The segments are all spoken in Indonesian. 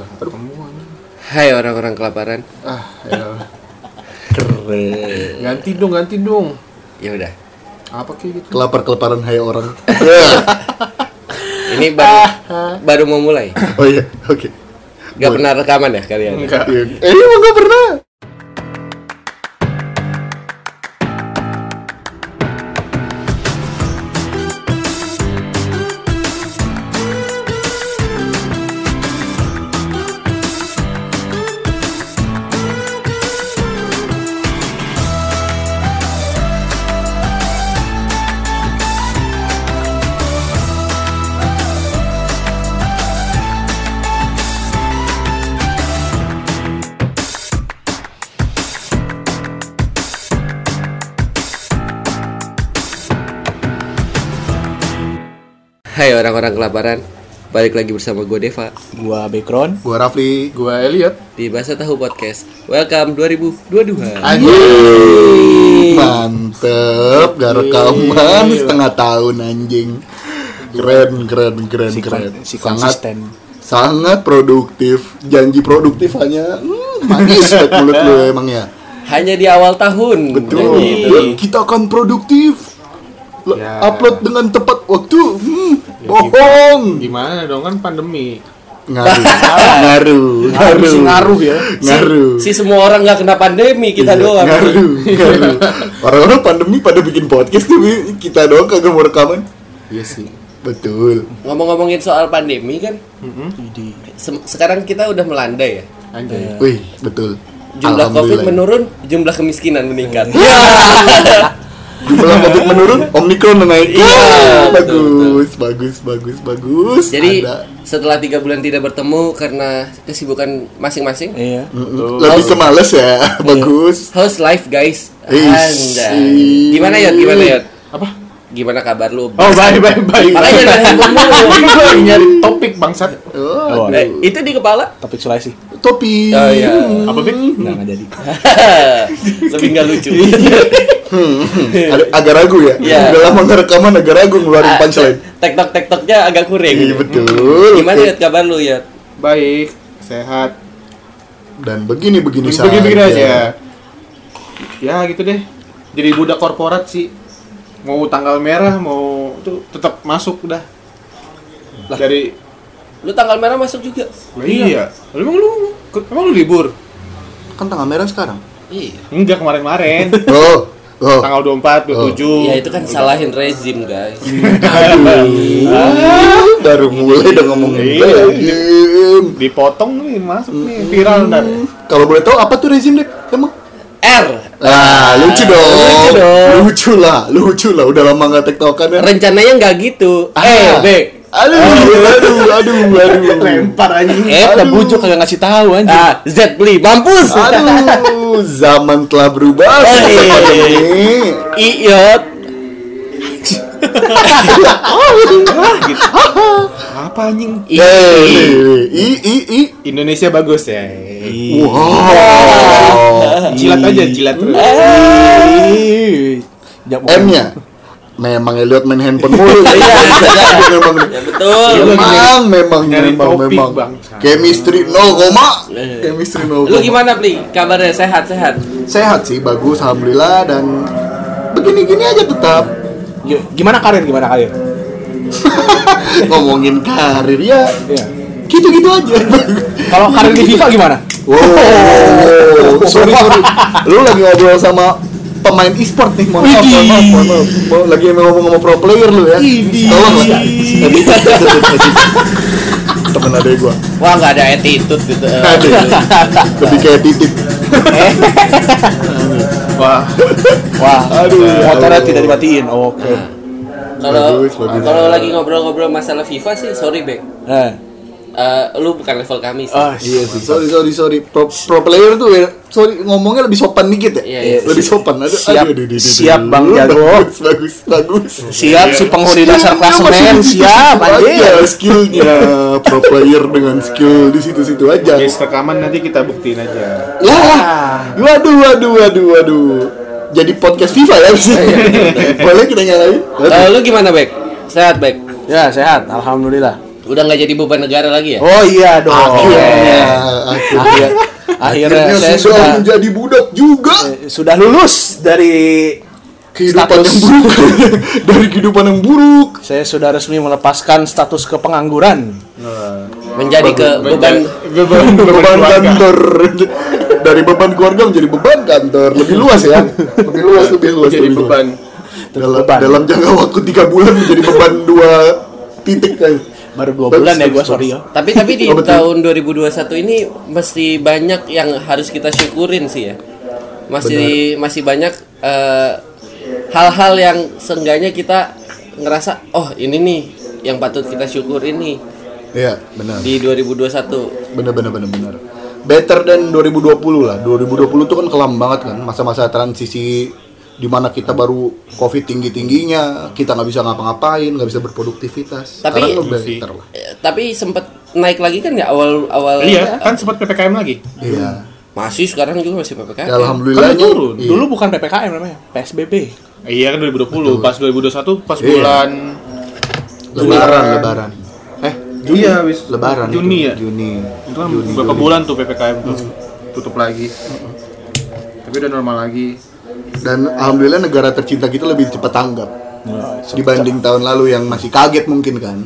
lapar semua nih. Hai orang-orang kelaparan. ah ya Keren. ganti dong ganti dong Ya udah. apa kayak gitu Kelapar kelaparan hai orang. Ini baru Ah, baru mau mulai. Oh iya, oke. Gak pernah rekaman ya kalian? enggak Iya. Eh, emang gak pernah. Hai orang-orang kelaparan. Balik lagi bersama gue Deva gua background Gua Rafli. gua Elliot di Bahasa Tahu Podcast. Welcome 2022. Anjing. Mantep, gak rekaman setengah tahun anjing. Keren, keren, keren, keren. si sangat konsisten sangat produktif. Janji produktif hanya hmm, manis buat mulut lu emang ya. Hanya di awal tahun. Betul. Dan kita akan produktif. Lo- Ya. Upload dengan tepat waktu. Hmm, bohong. gimana dong kan pandemi Ngaruh. ngaruh. Ngaruh. sih ngaruh ya. Ngaruh. Si semua orang nggak kena pandemi kita Iya, doang. Ngaruh. Ngaruh. Orang-orang pandemi pada bikin podcast tapi kita doang kagak mau rekaman. iya sih Betul. Ngomong-ngomongin soal pandemi kan, jadi se- sekarang kita udah melandai ya. anjay Wih, betul. Jumlah COVID Alhamdulillah. menurun, jumlah kemiskinan meningkat. Ya. Jumlah COVID menurun, Omikron naik. Ya, Iya, betul, bagus, bagus, bagus, bagus. Jadi Ada. setelah tiga bulan tidak bertemu karena kesibukan masing-masing, iya Oh. Mm-mm. lebih ke males Iya. ya. Bagus. How's life guys? Is- Anda gimana ya? Gimana ya? apa Gimana kabar oh lu? bye bye bye Makanya jangan sibuk mulu. Gua nyari topik bangsat Oh, oh, Eh, itu di kepala? topik Sulawesi topi. Oh, iya. apa pik nggak nggak jadi Lebih nggak lucu. Hmm. Ada- agak ragu ya. Iya. Udah lama nggak rekaman agak ragu ngeluarin punchline. Ah, Tektok tektoknya agak Iya kuring. betul. Gimana Oke. ya kabar lu ya? baik sehat Dan begini begini saja. begini begini aja ya gitu deh jadi budak korporat sih mau tanggal merah mau itu tetap masuk udah dari Lu tanggal merah masuk juga? iya emang lu emang lu libur Kan tanggal merah sekarang. Iya. enggak kemarin-kemarin Oh, oh. tanggal 24, 27 Ya itu kan salahin rezim guys. Aduh, baru mulai udah ngomongin Iya. rezim. dipotong nih masuk nih viral ntar Kalau boleh tahu apa tuh rezim deh? Emang? R Ah, lucu dong. dong. Lucu lah, lucu lah. Udah lama nggak tektokan ya. rencananya nggak gitu. Ah. Eh B. Aduh, aduh, aduh, aduh. lempar aja Eh udah W. bujuk kagak ngasih tahu anjing Ah, Z beli mampus. Aduh, zaman telah berubah. Hey. Iyot. apa anjing Eh, i, i, i. Indonesia bagus ya Wow. jilat aja jilat terus Ih, jangan bohong. M-nya. Memang Elliot main handphone mulu. Iya, memang. Betul. Memang, memang, Nyari memang, topik, memang. Bang. Chemistry no koma. Chemistry no Lu koma. gimana, Pli? Kabarnya sehat-sehat? Sehat sih, bagus, alhamdulillah dan begini-gini aja tetap Gi- gimana karir gimana karir ngomongin karir ya. iya Gitu-gitu aja. kalau karir di FIFA gimana Wow, sorry sorry. Lu lagi ngobrol sama pemain e-sport nih, mohon maaf, mohon maaf, mohon maaf. Mau- Lagi ngomong sama pro player lu ya. Tolong lah. Edit, edit, edit, edit. Temen adek gua. Wah, nggak ada attitude gitu. Adek. Lebih kayak titik. wah wah Aduh. motornya tidak dimatiin oke Kalau Bagus, bagus. kalau lagi ngobrol-ngobrol masalah FIFA sih, sorry, Bek. eh Eh, lu bukan level kami sih. ah, Iya sih. Sorry sorry sorry. Pro, pro player tuh ya, sorry ngomongnya lebih sopan dikit ya. Iya, iya. Lebih sopan. Aduh, Siap. aduh, aduh, aduh, aduh. Siap, Bang Jago. Bagus bagus bagus. siap si penghuni Skillnya dasar masih klasemen di situ-situ siap Iya. aja anjing ya skillnya pro player dengan skill di situ-situ aja. guys rekaman nanti kita buktiin aja Lah, waduh, waduh, waduh, waduh. Jadi podcast FIFA Iya, ya bisa. Boleh kita nyalain? Eh, lu gimana, Bek? Sehat, Bek. ya sehat alhamdulillah Udah nggak jadi beban negara lagi ya? Oh iya dong. Akhirnya, Akhirnya, Iya. akhirnya Akhirnya saya sudah, sudah eh, menjadi budak juga. sudah lulus dari Kehidupan status- yang buruk. Dari kehidupan yang buruk. saya sudah resmi melepaskan status kepengangguran. Menjadi ke beban beban beban keluarga. kantor dari beban keluarga menjadi beban kantor lebih luas ya lebih luas lebih luas Jadi lebih luas. beban. dalam Beban. dalam jangka waktu tiga bulan menjadi beban dua titik kan Baru dua Bagus, bulan ya gue bagus, sorry bagus. ya. tapi tapi di Oh, betul. tahun 2021 ini mesti banyak yang harus kita syukurin sih ya. Masih masih banyak eh, hal-hal yang seenggaknya kita ngerasa oh ini nih yang patut kita syukurin nih iya benar di 2021. benar benar benar benar better than 2020 lah 2020 tuh kan kelam banget kan masa-masa transisi dimana kita baru covid tinggi tingginya kita nggak bisa ngapa-ngapain nggak bisa berproduktivitas Tapi- sekarang lo better lah Eh, tapi sempat naik lagi kan ya awal awal Iya, kan sempat PPKM lagi. iya masih sekarang juga masih ppkm ya, alhamdulillah Kan turun. Dulu bukan PPKM namanya, PSBB. Iya kan 2020, pas 2021 Iya. pas bulan lebaran lebaran eh Iya, wis Lebaran Juni itu. ya. Juni. Itu kan Juni, beberapa Juli. bulan tuh PPKM tuh tutup lagi. Tapi udah normal lagi. Dan alhamdulillah negara tercinta kita lebih cepat tanggap dibanding tahun lalu yang masih kaget mungkin kan.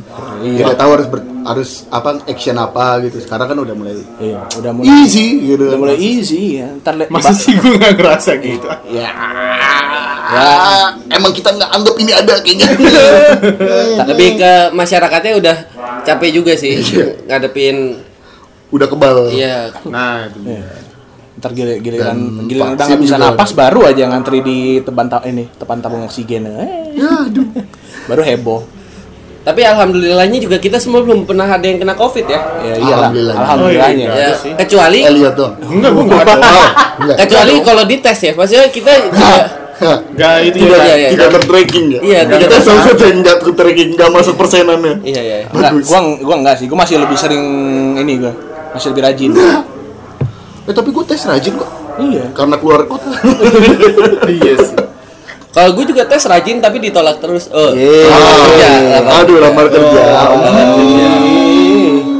Tidak tahu harus ber- harus apa action apa gitu. Sekarang kan udah mulai Iya, udah mulai easy gitu. udah mulai easy ya. Ntar lihat Masa sih gue gak ngerasa gitu? Ya. Ah, emang kita nggak anggap ini ada kayaknya. lebih ke masyarakatnya udah capek juga sih Iya. ngadepin udah kebal. ya Nah, itu. dia. iya. Ntar gil- giliran Dan giliran udah vaksin nggak bisa juga. napas baru aja ngantri di teban ta- ini teban tabung oksigen. Eh, Ya, aduh. baru heboh. tapi alhamdulillahnya juga kita semua belum pernah ada yang kena covid ya Ya iyalah. Alhamdulillah. Alhamdulillahnya. Nggak Oh, iya, ya ada sih. kecuali Eh, lihat dong. Enggak, gue gak ada. Oh, enggak. kecuali kalau dites ya maksudnya kita juga Hah, Enggak, itu Iya, tidak ya. iya, tidak tertracking ya. Iya, tidak Kita ter- selalu saja nggak tertracking, nggak masuk persenannya. iya iya iya. Enggak, Bagus. gua gua enggak sih. Gua masih lebih sering ini gua. Masih lebih rajin. Eh tapi gue tes rajin kok. iya. Karena keluar kota. Iya sih. kalau gue juga tes rajin tapi ditolak terus oh Oh, Iya, lama. aduh lamar kerja.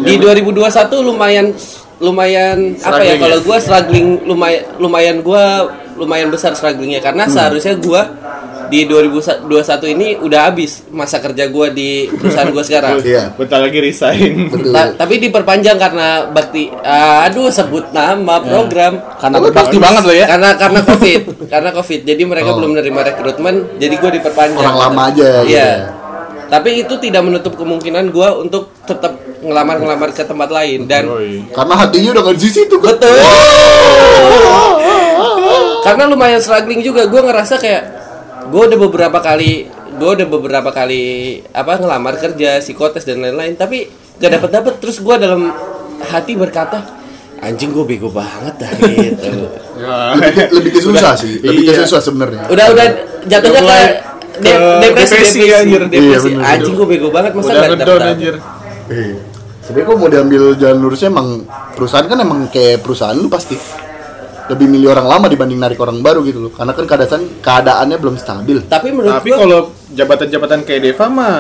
di 2021 lumayan lumayan apa Struggling ya kalau ya? gua struggling lumayan lumayan gua lumayan besar strugglingnya Hmm. karena seharusnya gua di 2021 ini udah habis masa kerja gua di perusahaan gua sekarang. Iya. Bentar lagi resign. Betul. Ta- tapi diperpanjang karena bakti ah, aduh sebut nama Iya. program Karena berbakti banget lo ya. karena karena covid karena covid jadi mereka belum menerima rekrutmen jadi gue diperpanjang Oh. Orang lama aja, iya gitu ya. tapi itu tidak menutup kemungkinan gue untuk tetap ngelamar ngelamar ke tempat lain dan Karena hatinya udah nggak di situ kan. betul karena lumayan struggling juga gue ngerasa kayak gue udah beberapa kali gue udah beberapa kali apa ngelamar kerja psikotes dan lain-lain tapi gak dapet dapet terus gue dalam hati berkata anjing gue bego banget dah gitu Ya. Lebih, lebih ke susah sih, lebih ke Iya. susah sebenarnya. udah udah Udah jatuhnya mulai ke, ke de- depresi depresi, depresi, anjir. depresi. Iya, bener. anjing gue bego banget masa Udah nggak ngedown dapet anjir. Iya. Sebenarnya kalau mau diambil jalan lurusnya emang perusahaan kan emang kayak perusahaan lu pasti lebih milih orang lama dibanding narik orang baru gitu loh. Karena kan keadaan keadaannya belum stabil. tapi menurut Tapi gua- kalau jabatan-jabatan kayak Deva mah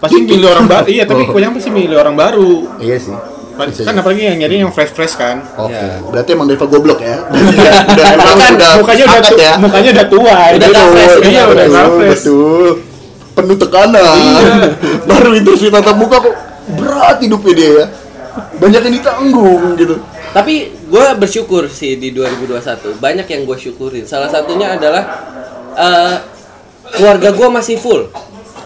pasti milih orang baru. Iya, tapi kebanyakan pasti milih orang baru. Iya sih. Bisa Kan jadi. apalagi yang nyari yang fresh-fresh kan. Oke, Ya. berarti emang Deva goblok ya. udah emang Kan udah mukanya udah angkat tua, ya. mukanya udah tua. Udah Iya, nggak fresh, Iya, udah udah nggak Betul, fresh. Iya. betul. Penuh tekanan. Baru interview tatap muka kok berat hidupnya dia ya. Banyak yang ditanggung gitu. tapi gue bersyukur sih di 2021 banyak yang gue syukurin salah satunya adalah eh, keluarga gue masih full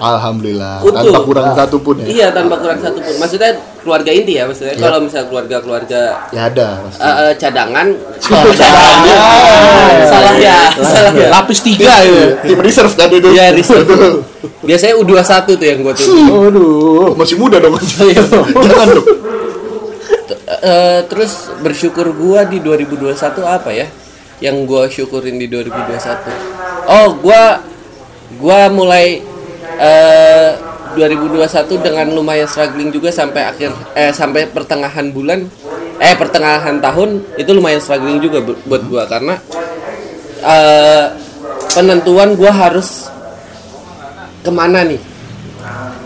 Alhamdulillah, Utuh. tanpa kurang satu pun ya. iya tanpa kurang satu pun maksudnya keluarga inti ya maksudnya kalau misalnya keluarga keluarga Ya ada pasti. eh, cadangan Ya. salah ya salah Iya. ya Lapis tiga ya. Tim reserve kan itu. Iya, reserve. Betul. biasanya U21 tuh yang gue tuh Aduh, masih muda dong. Iya. Jangan dong. Eh, terus bersyukur gua di 2021 apa ya? Yang gua syukurin di 2021. Oh, gua gua mulai eh 2021 dengan lumayan struggling juga sampai akhir eh sampai pertengahan bulan eh pertengahan tahun itu lumayan struggling juga bu- buat gua karena eh penentuan gua harus kemana nih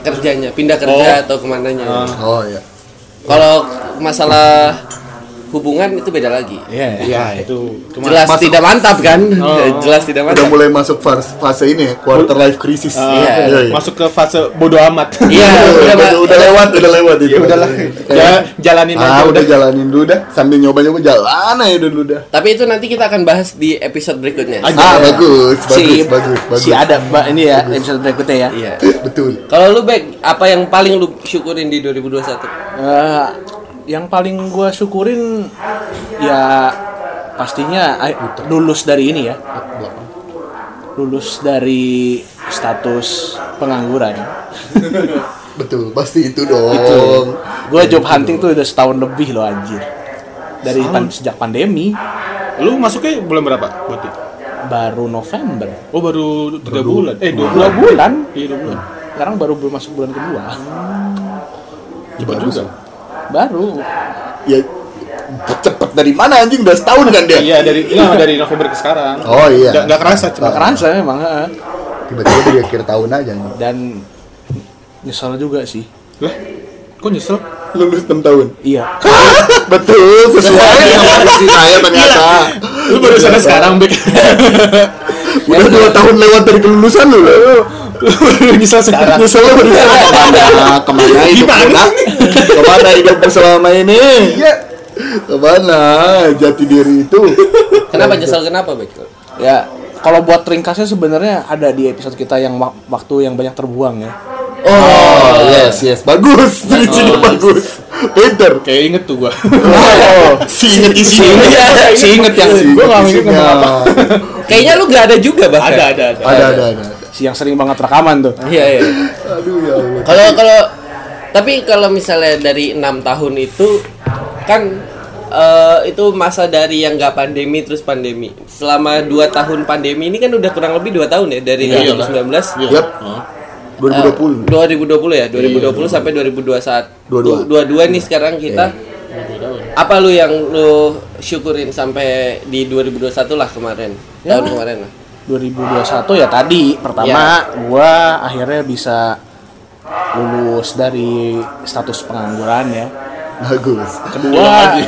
kerjanya, pindah Oh. kerja atau kemananya. Oh iya. Kalau masalah hubungan itu beda lagi. Iya. ya itu cuma Jelas masuk- tidak mantap kan? Oh. Jelas tidak Udah mantap. mulai masuk fase, fase ini ya, quarter life crisis. eh, Iya. masuk ke fase bodo amat Iya, udah, udah, Pak. Iya, udah, udah lewat, udah lewat itu. Iya. ya udahlah Ja- jalanin Ah, aja udah udah jalanin dulu dah sambil nyoba nyoba jalan aja dulu dah. Tapi itu nanti kita akan bahas di episode berikutnya. Aja. Ah, bagus, bagus, Si, bagus, bagus. si ada Mbak ini ya episode berikutnya ya. Iya. Betul. Kalau lu baik, apa yang paling lu syukurin di 2021? Eh, yang paling gua syukurin ya pastinya eh, lulus dari ini ya. Lulus dari status pengangguran. Betul, pasti itu dong. Gua Iya, job hunting tuh udah setahun lebih loh anjir. Dari pan- sejak pandemi lu masuknya bulan berapa berarti baru November. oh baru tiga bulan eh dua Dua bulan bulan. iya dua bulan Sekarang baru masuk bulan kedua. cepat Bagus. juga Baru. Ya cepet dari mana anjing udah setahun kan dia? iya dari iya dari November ke sekarang Oh, iya. nggak nggak kerasa cuma Nggak Kerasa memang eh. Tiba-tiba dari akhir tahun aja nih. dan nyesel juga sih. lah kok nyesel Lulus 6 tahun. Iya. Betul, sesuai sama isi saya ternyata. lu baru sadar Ternyata. sekarang Bek Udah 2 tahun lewat dari kelulusan lu. baru nyesel sekarang Nyesel lu bener. kemana? Kemana hidup Gimana kita? Kemana hidupmu selama ini? Iya. Kemana jati diri itu? Kenapa nyesel kenapa baik? Ya, kalau buat ringkasnya sebenarnya ada di episode kita yang wak- waktu yang banyak terbuang ya. Oh, yes, yes. Bagus, ceritanya bagus. Pinter. kayak inget tuh gua Oh, si inget isinya. si inget yang Si gua nggak inget isinya. nama apa Kayaknya lu gak ada juga bahkan. ada ada ada Ada, ada, ada. ada. Si yang sering banget rekaman tuh. Iya, iya. Aduh ya Allah. Kalau kalau tapi kalau misalnya dari enam tahun itu kan eh, itu masa dari yang nggak pandemi terus pandemi. Selama dua tahun pandemi ini kan udah kurang lebih dua tahun ya dari Iya, 2019 Yap. Oh. eh, 2020 2020. ya, 2020 sampai 2021. Dua-dua. Dua-dua nih sekarang kita apa lu yang lu syukurin sampai di 2021 lah kemarin. Ya. Tahun kemarin lah. 2021 ya tadi pertama gua akhirnya bisa lulus dari status pengangguran ya. Bagus. Kedua,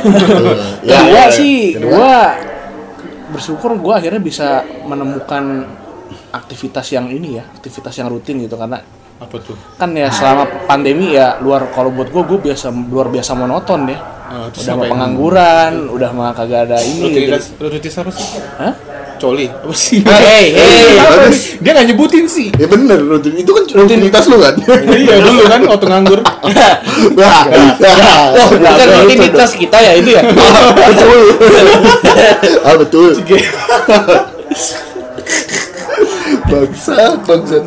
Ya, kedua ya, sih kedua. gua bersyukur gua akhirnya bisa menemukan aktivitas yang ini ya, aktivitas yang rutin gitu karena apa tuh kan ya selama pandemi ya luar kalau buat gue gue biasa luar biasa monoton ya Ah, terus apa udah mah yang- pengangguran udah mah kagak ada ini gitu. rutinitas rutinitas apa sih Hah? coli apa sih Hey, hey. Apa Bagus. nih? dia nggak nyebutin sih Ya bener rutin. Itu kan rutinitas lu kan? iya dulu kan waktu nganggur Wah, Wah, bukan rutinitas kita ya itu ya. Betul. Ah betul. Bangsat, bangsat.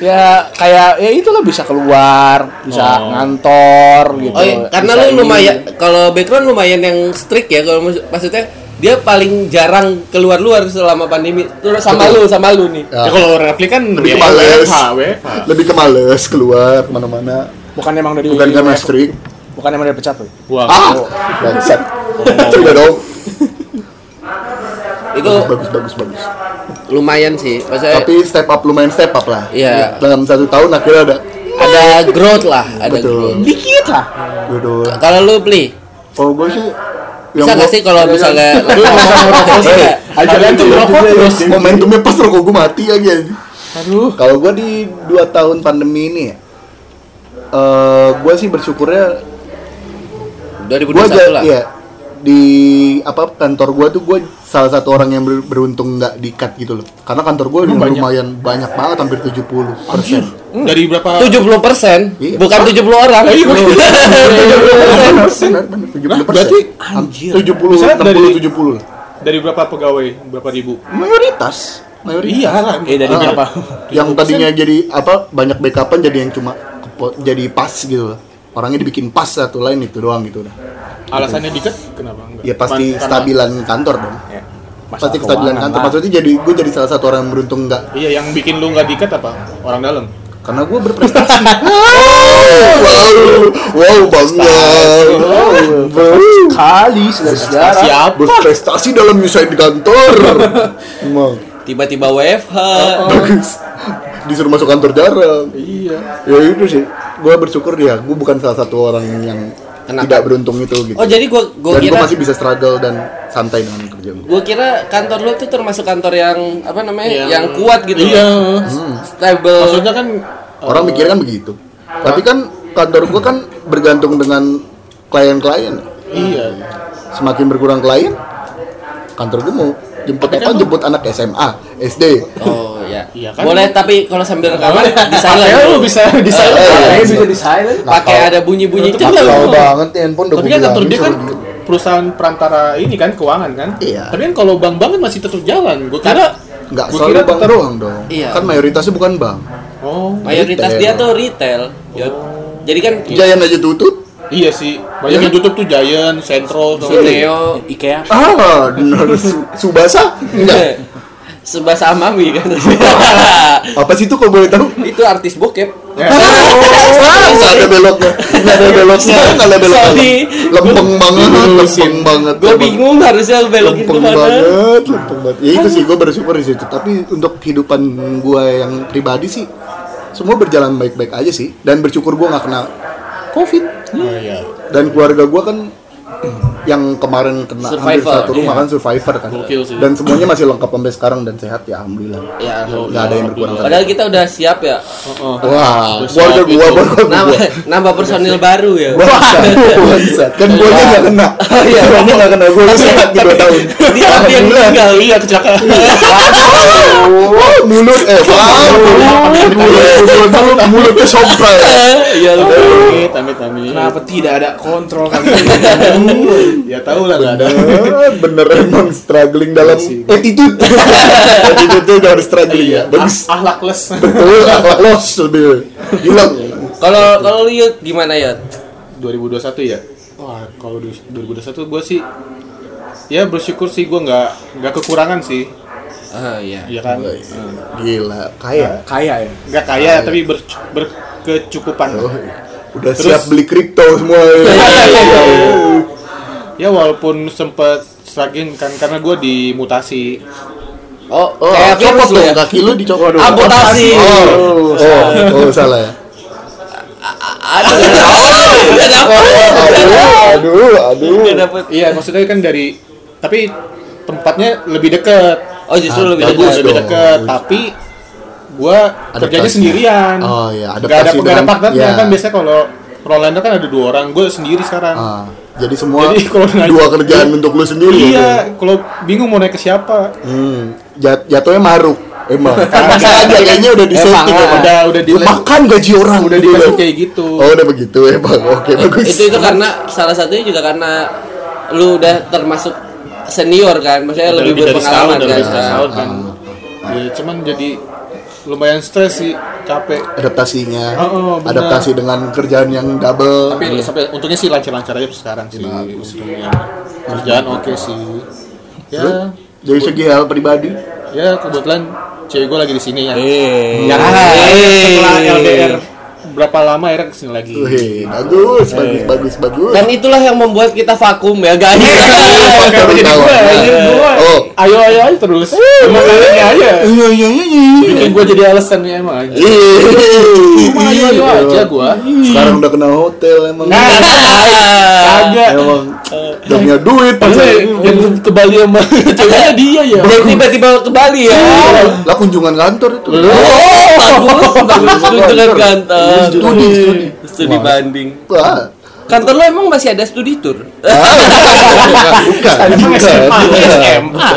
ya kayak ya itulah bisa keluar bisa ngantor gitu Oh, iya, karena bisa lu ini. lumayan kalau background lumayan yang strict ya kalau maksud- maksudnya dia paling jarang keluar-luar selama pandemi. Terus sama lu, sama lu nih. ya kalau replik kan ya, Lebih ke males. WFH, WFH. Lebih ke males keluar mana-mana. bukan emang dari Bukan Iya. karena strik. bukan emang dari pecat tuh Wah, Oh. Ah, bangsat. Coba dong. Itu Bagus, bagus, bagus. lumayan sih. Maksudnya Tapi step up lumayan step up lah. Iya. Dalam satu tahun akhirnya ada. ada growth lah, ada growth. Betul. dikit lah Betul. Kalau lu beli Kalau gue sih Iya. bisa nggak sih kalau misalnya Iya. lu ngomong rokok sih nggak? Ajaran tuh ngerokok terus. Iya. Momentumnya pas rokok gue mati lagi aja. aduh Kalau gue di 2 tahun pandemi ini ya, eh gue sih bersyukurnya gue 2021 lah. ya di apa kantor gue tuh gue salah satu orang yang ber- beruntung nggak dikat gitu loh karena kantor gue udah lumayan banyak banget hampir 70 persen dari berapa 70 Iya. bukan 70 orang. Nah, berarti anjir. tujuh puluh Misalnya enam dari- tujuh puluh lah dari berapa pegawai berapa ribu mayoritas mayoritas lah eh dari Ah, berapa yang tadinya jadi apa banyak backupan jadi yang cuma kepo- jadi pas gitu loh orangnya dibikin pas satu lain itu doang gitu udah alasannya diket kenapa enggak ya pasti Karena- kestabilan kantor dong Masalah pasti kestabilan keuangan kantor lah. maksudnya jadi gue jadi salah satu orang yang beruntung nggak iya yang bikin lu nggak diket apa orang dalam karena gue berprestasi wow wow bangga wow kali saudara siap berprestasi dalam nyusahin di kantor Emang. Tiba-tiba WFH. bagus disuruh masuk kantor jarang Iya. ya itu sih gue bersyukur ya gue bukan salah satu orang yang Kenapa? tidak beruntung itu gitu Oh jadi gua gua dan gue kira masih bisa struggle dan santai dengan kerja gue gua kira kantor lu tuh termasuk kantor yang apa namanya yang, Yang- kuat gitu. Iya. loh. Stable. Maksudnya kan orang mikirnya kan begitu tapi kan kantor gue kan bergantung dengan klien-klien iya. semakin berkurang klien kantor gue mau jemput apa jemput anak SMA SD Oh ya. Iya kan? Boleh tapi kalau sambil rekaman di silent. Pakai lu bisa Nah, di silent. Eh, bisa di silent. Oh, iya. Pakai ada bunyi-bunyi Nakal. celeng. Nakal banget nih handphone udah Tapi gua gitu. kan kantor bilangin dia kan suruh diem. perusahaan perantara ini kan keuangan kan. Iya. Tapi kan kalau bank bank kan masih tetap jalan. Gue kira nggak gua selalu kira bank tetap- doang dong Iya. kan mayoritasnya bukan bank Oh. Mayoritas Retail. dia tuh retail. Yod. Jadi kan Giant aja tutup Iya sih. Banyak yang tutup tuh Giant, Central, Iya. Iya. Suneo IKEA. ah benar Su- Subasa Iya. Iya. enggak Subasa Amami kan. apa sih itu kok boleh tahu Itu artis bokep. Ya, Wah, nggak ada beloknya nggak ada beloknya nggak ada beloknya Sorry. lempeng banget lempeng banget Gue bingung harusnya belokin lempeng kemana. banget lempeng banget ya itu sih gue bersyukur di situ tapi untuk kehidupan gue yang pribadi sih semua berjalan baik-baik aja sih dan bersyukur gue nggak kena covid Oh iya. dan keluarga gue kan yang kemarin kena hampir Survivor, satu rumah iya. kan survivor kan Gokil sih. dan semuanya masih lengkap sampai sekarang dan sehat ya alhamdulillah Ya, alhamdulillah. gitu. nggak ada yang berkurang kan. Padahal kita udah siap ya. Oh, oh. wah Terus keluarga saat gue itu- keluarga gue Nambah, nambah personil Iya. baru ya. Bangsat, bangsat. Kan gue nya nggak kena, iya, gue nya nggak kena, gue nya sehat di dua tahun. Oh, Dia tapi yang meninggal. Iya kecelakaan. Wah, mulut, eh, wah, mulut, mulut, mulut, mulutnya sompral. Iya lu. Amit, amit, amit. Kenapa tidak ada kontrol kali? Ya tahu lah nggak ada. Bener, Nah, bener emang struggling dalam Sih. attitude. Attitude tuh udah harus struggling ya. Bagus. Ah, ahlakless. Betul, akhlak los lebih hilang. Kalau kalau lu Yud, gimana ya? 2021 ya? Wah, kalau du- 2021 gue sih ya bersyukur sih gue nggak nggak kekurangan sih, Ah iya. ya kan? Gila, kaya. Kaya ya. Nggak kaya tapi ber- berkecukupan. Oh, udah Terus- siap beli kripto semua. Ya walaupun sempet struggling kan karena gue dimutasi. Oh, Oh, kayak virus copot lu ya. dong kaki lu dicopot dong. Amputasi. Oh, oh, oh, salah ya. Aduh. Udah dapet. Oh. aduh, aduh. Udah dapet. Iya, maksudnya kan dari tapi tempatnya lebih deket, Oh justru Ah, lebih bagus dekat. lebih dong. deket. Tapi gue kerjanya sendirian. Oh, iya, Nggak ada adaptasi nggak ada dengan- partnernya iya. kan biasanya kalau Rolander kan ada dua orang, gue sendiri sekarang. Ah, jadi semua Jadi kalau nanya- dua kerjaan untuk lu sendiri. gitu. Iya, kalau bingung mau naik ke siapa? Hmm, jat- jatuhnya maruk. Emang. Kan Masa aja kayaknya udah di kan. Emang, setting. ah. emang. Eh, Udah- udah di- makan gaji orang Udah gitu dikasih loh. kayak gitu. kan- Oh, udah begitu emang. Oke, bagus. itu itu karena salah satunya juga karena lu udah termasuk senior kan maksudnya Udah lebih, dari setahun, berpengalaman iya. udah kan lebih dari Nah, setahun kan. Ah, Ya, cuman jadi lumayan stres sih, capek. adaptasinya. Oh, oh, benar. Adaptasi dengan kerjaan yang double. Tapi sampai untungnya sih lancar-lancar aja sekarang sih. Iya. Untungnya. Kerjaan oke sih. Lu, Ya, dari segi hal pribadi. ya kebetulan cewek gue lagi di sini ya. Iya. eh Yang eh. setelah LDR berapa lama akhirnya kesini lagi. Wih, bagus, Eh. bagus, bagus, bagus. Kan dan itulah yang membuat kita vakum ya guys Oke, Kenapa jadi ketawa. gue? Anjir, gue. Oh. Ayo ayo ayo terus. Emang kalian aja. Iya, iya, iya, iya. Bikin gue jadi alasan ya emang aja. Cuma ayo ayo Iya. aja gue. Sekarang udah kena hotel emang. Nah. Ah. Kagak. Emang udah punya duit masa Oh, iya. yang ke Bali sama ceweknya dia ya. dan tiba-tiba ke Bali ya Oh. lah kunjungan kantor itu. Oh, bagus bagus lu dengan kantor Studi, studi. studi banding Wah. kantor lu emang masih ada studi tour Bukan, Emang SMA, bukan. SMA.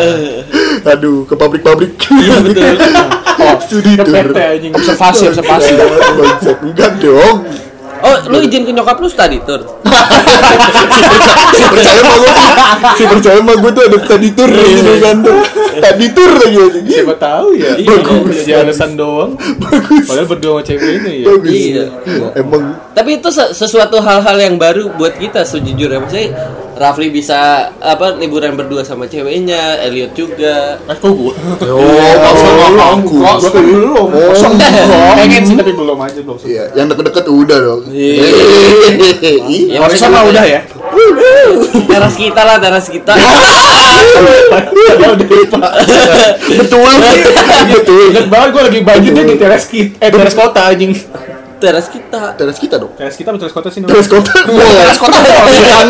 Aduh, ke pabrik-pabrik. Iya betul. Studi Ke tur. PT anjing. Observasi, observasi. Bangsat. Enggak dong. oh lu izin ke nyokap lu study tour Si percaya sama gue tuh. Si percaya sama gue tuh ada study tour gitu kan tuh. Study tour lagi anjing. Siapa tahu ya. Iya. Bagus. Jadi alasan doang. Bagus. Padahal berdua sama ceweknya ya. Bagus. Iya. Emang Tapi itu se- sesuatu hal-hal yang baru buat kita sejujurnya maksudnya Rafli bisa apa liburan berdua sama ceweknya, Elliot juga. Eh kok gue? Yo, maksudnya aku. Gue kan belum. Kosong dong. Pengen sih tapi belum aja belum. Iya, yang deket-deket udah dong. Iya. Iya. Hehehe. maksudnya Harusnya mah udah- udah ya. teras kita lah teras kita Betul. Betul. Ingat banget gue lagi budgetnya di teras kita, eh teras kota anjing. teras kita Teras kita dong. Teras kita atau teras kota sih? Teras namanya? kota. Teras kota. Tangerang.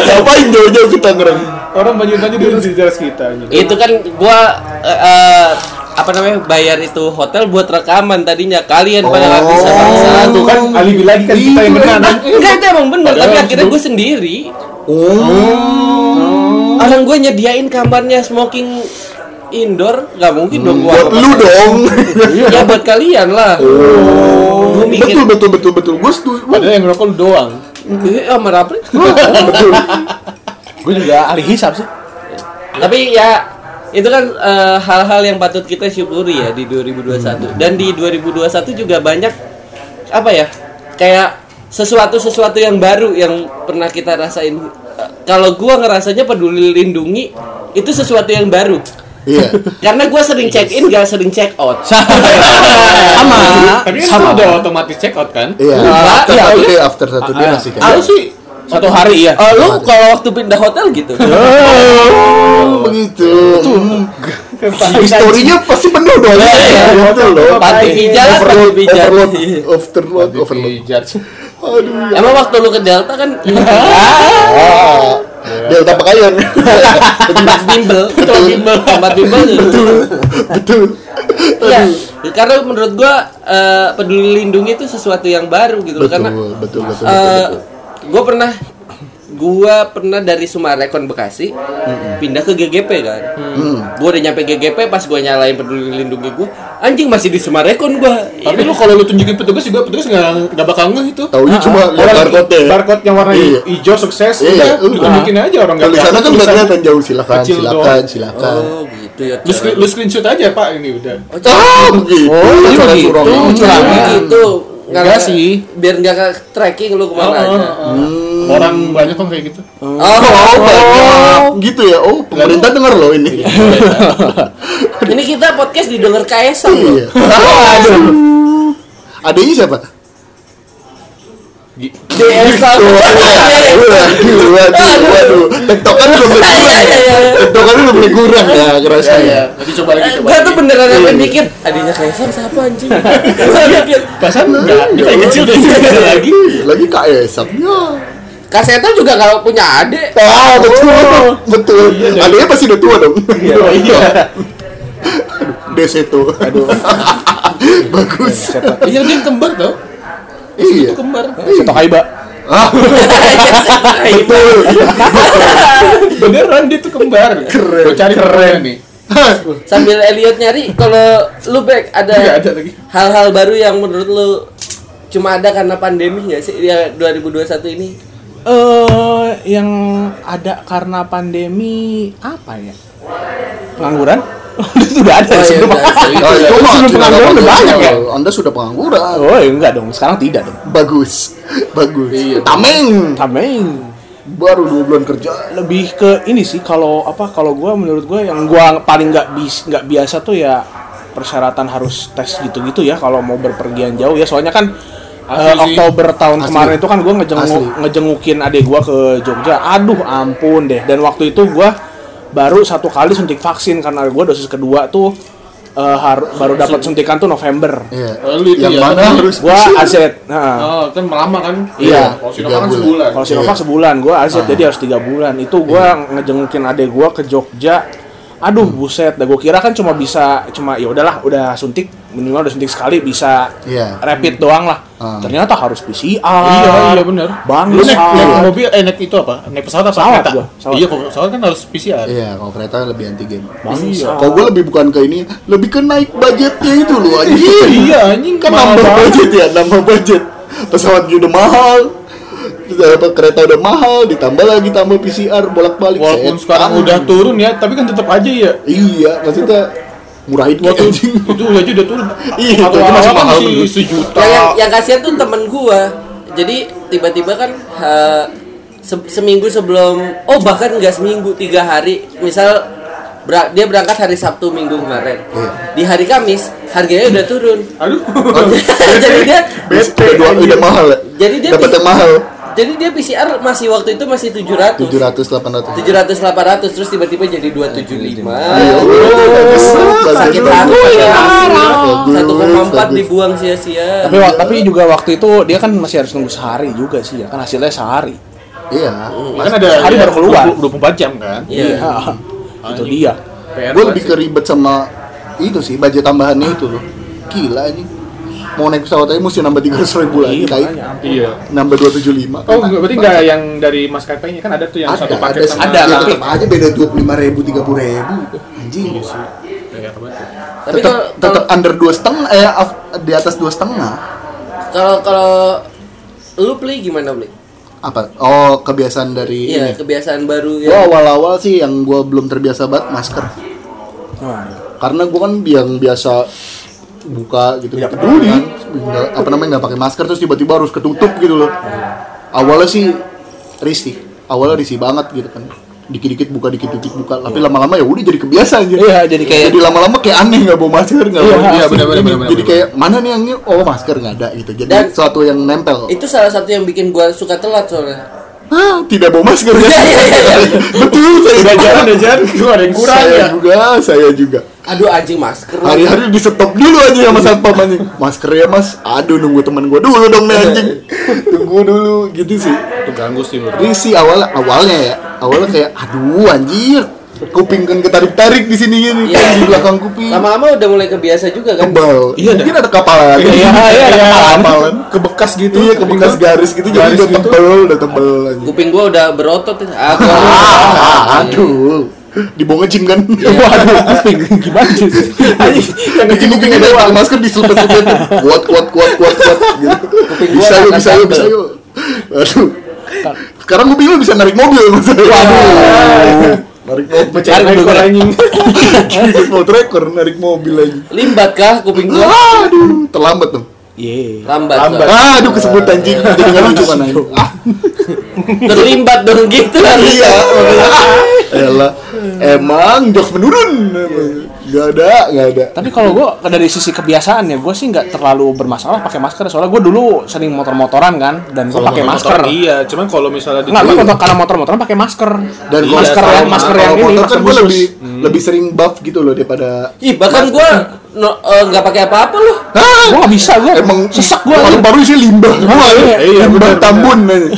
Ngapain jauh-jauh ke Tangerang? Orang banjir-banjir dulu di teras kita anjing. itu kan gua eh, eh, apa namanya bayar itu hotel buat rekaman tadinya kalian pada nggak bisa bangsa Nah, tuh kan Oh. alibi lagi kan kita yang benar. Iya. kan? enggak itu emang bener tapi Padahal akhirnya sebelum- gue sendiri Oh. orang gue nyediain kamarnya smoking indoor nggak mungkin dong gua Buat apa-apa. lu dong. ya buat kalian lah Gua mikir Betul betul betul betul. Gue setuju. Padahal yang ngerokok lu doang. "Eh, sama Rapli." Betul. Gue juga ahli hisap sih. Tapi ya itu kan eh, hal-hal yang patut kita syukuri ya di 2021 dan di 2021 juga banyak apa ya kayak sesuatu sesuatu yang baru yang pernah kita rasain Eh, kalau gua ngerasanya peduli lindungi itu sesuatu yang baru Iya. karena gua sering check in gak sering check out Sama. Tapi kan itu Sama. udah otomatis check out kan? Iya. After iya, satu iya. day after satu day masih kayak. gitu. Aku sih Satu hari ya. Eh, lu kalau waktu pindah hotel gitu Oh, begitu. Historinya pasti penuh dong. Iya, betul dong. panti jalan Overload, panti jalan. overload, overload, overload. Dijudge. Aduh. emang waktu lu ke Delta kan Ah, Delta pakaian. tempat bimbel tempat bimbel tempat bimbel Betul. Iya, karena menurut gua eh, peduli lindungi itu sesuatu yang baru gitu loh Betul, karena betul, betul, betul, eh, betul. gua pernah gua pernah dari Sumarekon Bekasi pindah ke GGP kan. Gua udah nyampe GGP pas gua nyalain peduli lindungi gua, anjing masih di Sumarekon gua. Tapi lu kalau lu tunjukin petugas juga petugas nggak nggak bakal ngeh itu. Taunya cuma lihat Ah, barcode. ya? barcode yang warna Iya. hijau sukses Iya, udah udah. tunjukin aja orang nggak Kalau di sana tahu kan nggak tulisan. kelihatan jauh silakan, Kecil silakan, silakan. Oh, gitu ya. Lu, screen- lu screenshot aja pak ini udah. Oh, begitu. Oh, iya Cara begitu. suruh Oh, ngomong. Curang gitu. Enggak sih. Biar nggak ke tracking lu kemana Oh, oh, aja. oh. Hmm. Orang banyak kok kayak gitu. Oh, banyak. gitu ya. Oh, pemerintah Iya, dengar loh ini. oh. Ini kita podcast didengar Kaisang loh. Iya. Aduh. Adanya siapa? Kaisang. Waduh, waduh, waduh. Tektokan udah mulai Iya, kurang ya. Tektokan udah mulai kurang ya kerasa ya. Nanti coba lagi coba. Gue tuh beneran Iya, sampe iya. mikir Adiknya Kaisar siapa anjing Gua mikir, Pasan enggak, Iya, kita yang kecil dari iya, kecil lagi. Lagi kak Esapnya. Kak Seto juga kalau punya adik Ah, betul, betul. Adanya pasti udah tua dong. Iya, iya. Deseto. Aduh. Bagus. Iya dia kembar tau. Iya. Kembar. Satu kaiba. Ah, betul. Beneran dia tuh kembar. Keren. Gua cari keren nih. Sambil Elliot nyari kalau lu back Enggak ada ada lagi. hal-hal baru yang menurut lu cuma ada karena pandemi nggak sih ya 2021 ini Eh, yang ada karena pandemi apa ya? Pengangguran? itu udah Oh, ada iya, sebelum. udah, serius. Ah, itu mah sebelum tidak pengangguran udah banyak ya. iya. konvensional. Anda sudah pengangguran. Oh, iya, enggak dong. Sekarang tidak dong. Bagus. Bagus. Tameng. Tameng Baru dua bulan kerja. lebih ke ini sih kalau apa kalau gua menurut gua yang gua paling nggak bis nggak biasa tuh ya persyaratan harus tes gitu-gitu ya kalau mau berpergian jauh ya soalnya kan eh, sih. Oktober tahun Asli. kemarin itu kan gua ngejenguk Asli. ngejengukin adik gua ke Jogja aduh ampun deh dan waktu itu gua baru satu kali suntik vaksin karena gua dosis kedua tuh eh, har- baru dapat suntikan tuh November Iya. Oh, lu itu Yang ya, mana tapi- harus gua AZ nah. Oh, kan lama kan? Iya, Kalau Sinovac tiga kan bulan. sebulan. Kalau Sinovac Iya. sebulan, gue aset jadi harus tiga bulan. Itu gue ngejengukin adek gue ke Jogja. Aduh buset, dah gue kira kan cuma bisa cuma ya udahlah udah suntik minimal udah suntik sekali bisa Iya. rapid doang lah. Ah. Ternyata harus Iya, PCR. Ah. iya benar. Lu Bangsa. naik, naik mobil, eh naik itu apa? Naik pesawat apa? Pesawat Kereta? gua, pesawat. Iya, kalau pesawat kan harus PCR. Iya, kalau kereta lebih anti game. iya. Bangsa. Kalau gue lebih bukan ke ini, lebih ke naik budgetnya itu loh anjing. Iya, anjing kan mahal nambah banget. budget ya, nambah budget. Pesawat juga udah mahal. Terus apa, kereta udah mahal, ditambah lagi tambah PCR bolak-balik. Walaupun Setan. sekarang udah turun ya, tapi kan tetap aja ya. Iya, maksudnya murahin kayak Waktu Iya, anjing. itu aja udah turun. Iya, Satu itu awal masih kan mahal masih dulu. sejuta. Ya, yang yang kasihan tuh temen gua jadi tiba-tiba kan eh, se- seminggu sebelum oh bahkan nggak seminggu tiga hari misal ber- dia berangkat hari Sabtu minggu kemarin di hari Kamis harganya udah turun Aduh. jadi dia Udah dua udah mahal ya. iya. Jadi dia dapat di- yang mahal. Jadi dia PCR masih waktu itu masih 700. 700 800. 700 800 terus tiba-tiba jadi 275. Ayo, bagus, bagus, Sakit bagus, hati ya. bagus, 1,4 bagus. dibuang sia-sia. Tapi wa- tapi juga waktu itu dia kan masih harus nunggu sehari juga sih ya. Kan hasilnya sehari. Iya. kan ada Hari baru keluar. 20, 24 jam kan Iya. Iya. itu dia. PR Gue banget lebih sih. keribet sama itu sih budget tambahannya itu loh. Gila ini. Mau naik pesawat aja mesti nambah 300 ribu lagi Iya, naik. makanya. iya Nambah 275. Oh, enggak, berarti enggak yang dari maskapainya kan ada tuh yang ada, satu ada, paket sama gitu. ada, ya, tapi- tetap aja beda 25 ribu, 30 ribu Anjing Iya, apa tuh? Tapi Tetap, kalau tetap under 2 setengah, eh af- di atas 2 setengah kalau kalau lu play gimana, Bli? Apa? Oh, kebiasaan dari Iya, ini Oh, kebiasaan baru Gue ya. awal-awal sih yang gue belum terbiasa banget masker Nah, Karena gue kan yang biasa buka gitu gitu dulu kan Nggak- apa namanya nggak pakai masker terus tiba-tiba harus ketutup gitu loh awalnya sih risih awalnya risih banget gitu kan dikit-dikit buka dikit-dikit buka tapi lama-lama ya udah jadi kebiasaan aja Iya, jadi kayak jadi lama-lama kayak aneh nggak bawa masker nggak Iya, bawa iya, ini. benar-benar, Jadi- benar-benar. jadi kayak mana nih yang ini? oh masker nggak ada gitu jadi Dan- suatu yang nempel Itu salah satu yang bikin gua suka telat soalnya. ah tidak bawa masker ya iya, iya. betul saya Udah jalan, ya. udah jalan. Itu ada yang kurang iya. saya ya. juga saya juga Aduh anjing masker. lu. hari-hari di stop dulu aja sama satpam Iya. anjing masker ya mas aduh nunggu teman gue dulu dong nih anjing tunggu dulu gitu sih Itu ganggu sih menurut gue. risi awalnya awalnya ya awalnya kayak aduh anjir kuping kan ketarik-tarik di sini ini Iya. di belakang kuping Lama-lama udah mulai kebiasa juga kan. kebal Iya, mungkin ada kapalan Iya, iya, iya. kapalan Kebekas gitu. iya ke bekas garis gitu jadi Garis udah gitu. tebel udah tebel aja Kuping gua udah berotot. ya. Ah, gua- ah, aduh dibawa ngejim kan Iya, waduh, kuping gimana sih? yang ngejim kupingnya doang gitu. masker diselupet-selupet kuat kuat kuat kuat kuat gitu Kuping gua bisa yuk akan bisa yuk tebel. bisa yuk aduh sekarang kuping lu bisa narik mobil mas Waduh. narik mobil Cari Tarik rekor dulu. anjing. mau rekor narik mobil lagi Limbat kah kuping gua? aduh terlambat dong Iya. Lambat. Lambat. soalnya. aduh kesebut anjing jadi nggak lucu kan anjing ah Terlimbat dong gitu harusnya. iya elah emang jokes menurun emang. nggak ada nggak ada Tapi kalau gue dari sisi kebiasaan ya, gue sih nggak terlalu bermasalah pakai masker. Soalnya gue dulu sering motor-motoran kan, dan gue pakai masker. Motor, Iya, cuman kalau misalnya di Nggak, gue motor karena motor-motoran pakai masker. dan Iya, kalau masker kalau yang masker yang kalau ini, motor masker kan gue khusus. Hmm. lebih lebih sering buff gitu loh daripada Ih, bahkan gua no- eh, nggak pakai apa-apa loh. Hah? Gue nggak bisa, gue emang sesak gue. paling baru sih limbah gua iya, iya, benar, limbah tambun aja.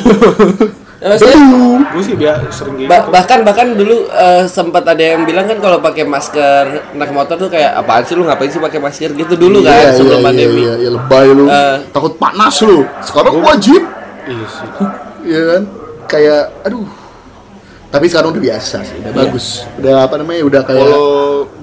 Ya, maksudnya, iya, gue sih biar sering gitu. ba- bahkan bahkan dulu eh, sempat ada yang bilang kan kalau pakai masker naik motor tuh kayak apaan sih lu ngapain sih pakai masker gitu dulu Iya, kan iya, sebelum iya, pandemi. iya, iya, lebay lu Eh. takut panas lu sekarang wajib Iya sih. iya kan kayak aduh tapi sekarang udah biasa sih Iya. udah bagus udah apa namanya udah kayak Kalau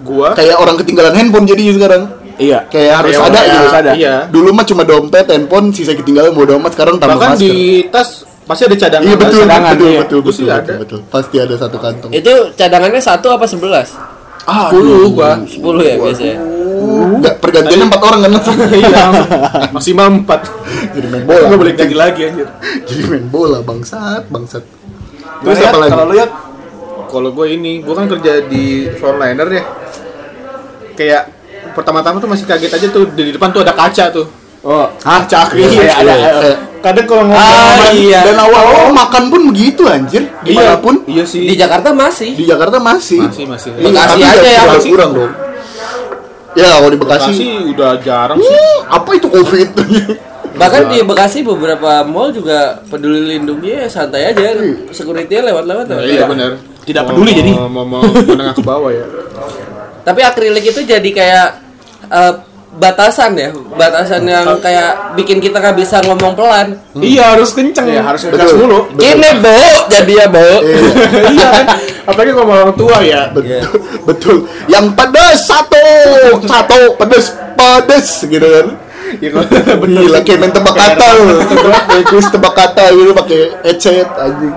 gua kayak orang ketinggalan handphone jadinya sekarang Iya. kayak harus Kayak ada orang- gitu harus ada. Iya. dulu mah cuma dompet handphone sisa ketinggalan bodo amat sekarang tambah bahkan masker di tas pasti ada cadangan. iya betul betul cadangan, betul iya. betul, Gua sih betul, ada. Eh. betul, betul. pasti ada satu kantong Itu cadangannya satu apa sebelas? Ah, Dulu gua. 10 ya biasanya. Enggak, pergantiannya empat orang kan langsung Eh. Iya. Maksimal 4. jadi main bola Enggak boleh ganti lagi anjir. jadi main bola bangsat bangsat Terus apa Nah, ya, lagi? kalau Kalau lihat kalau gue ini, gue kan kerja di frontliner ya. Kayak pertama-tama tuh masih kaget aja tuh di depan tuh ada kaca tuh. Oh, Ah, cakri Iya, ya ada. iya. Kadang kalau ngomong Ah, iya. dan awal awal makan pun begitu anjir dimanapun Iya sih. Di Jakarta masih. di Jakarta masih Masih, masih. Iya, Bekasi tapi aja udah- ya, udah Bekasi. kurang dong ya kalau di Bekasi, Bekasi udah jarang sih. Ih, apa itu covid Bahkan di Bekasi beberapa mall juga peduli lindungi ya santai aja. Security-nya lewat-lewat. ya. lewat. Iya benar. Tidak Mau- peduli jadi. mau mau menengah ke bawah ya. Tapi akrilik itu jadi kayak eh, batasan ya, batasan yang kayak bikin kita nggak bisa ngomong pelan. iya harus kenceng. Ya harus ngegas Betul. mulu. Ini bau jadi ya bau. Iya, Iya kan. Apalagi kalau sama orang tua ya. betul betul yang pedes satu satu pedes pedes gitu kan Ya kalau bener lah kayak main tebak kata lu kayak quiz tebak kata gitu pakai headset anjing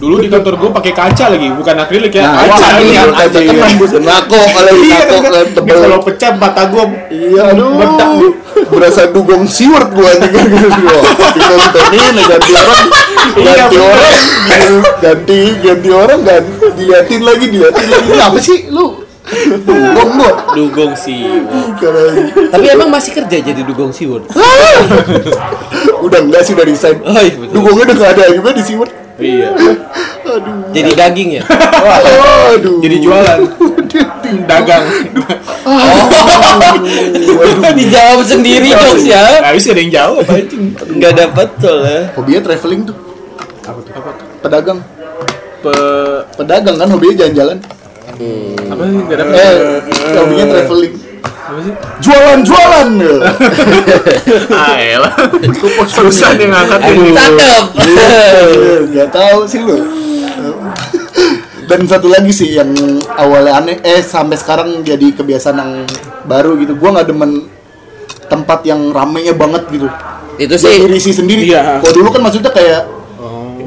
Dulu di kantor gue pakai kaca lagi, bukan akrilik ya. Nah, kaca ini iya, kan kaca kaca kan. tembus ngaco kalau Iya, ngaco kan, kan kan. Ini tebel. Kalau pecah mata gue Iya, aduh. Bedak lu. Berasa dugong siward gua anjing gitu. Wah, Kita vitamin ganti orang. Iya, Ganti bener. orang. ganti ganti orang ganti diatin lagi diatin lagi. Ini apa sih lu? Dugong gua. Dugong sih. Karena Tapi emang masih kerja jadi dugong siwon. udah enggak sih udah resign. Oh iya betul. Dugongnya udah enggak ada juga di Siwon. Iya. Aduh. Jadi daging ya. Aduh. Jadi jualan, dagang. Dijawab sendiri jokes ya. Nah, Habis ada yang jauh apa Enggak dapat soalnya. Hobinya traveling tuh. Pedagang. Pe Pedagang kan hobinya jalan-jalan. apa sih enggak dapat. Eh, hobinya traveling. Apa sih? Jualan-jualan. Ah, elah. Cukup susah nih ngangkat ini. Cakep. Iya. Enggak tahu sih lu. Dan satu lagi sih yang awalnya aneh eh sampai sekarang jadi kebiasaan yang baru gitu. Gua nggak demen tempat yang ramenya banget gitu. Itu Jadi sih Berisi sendiri. Iya. Oh, Kalau dulu kan maksudnya kayak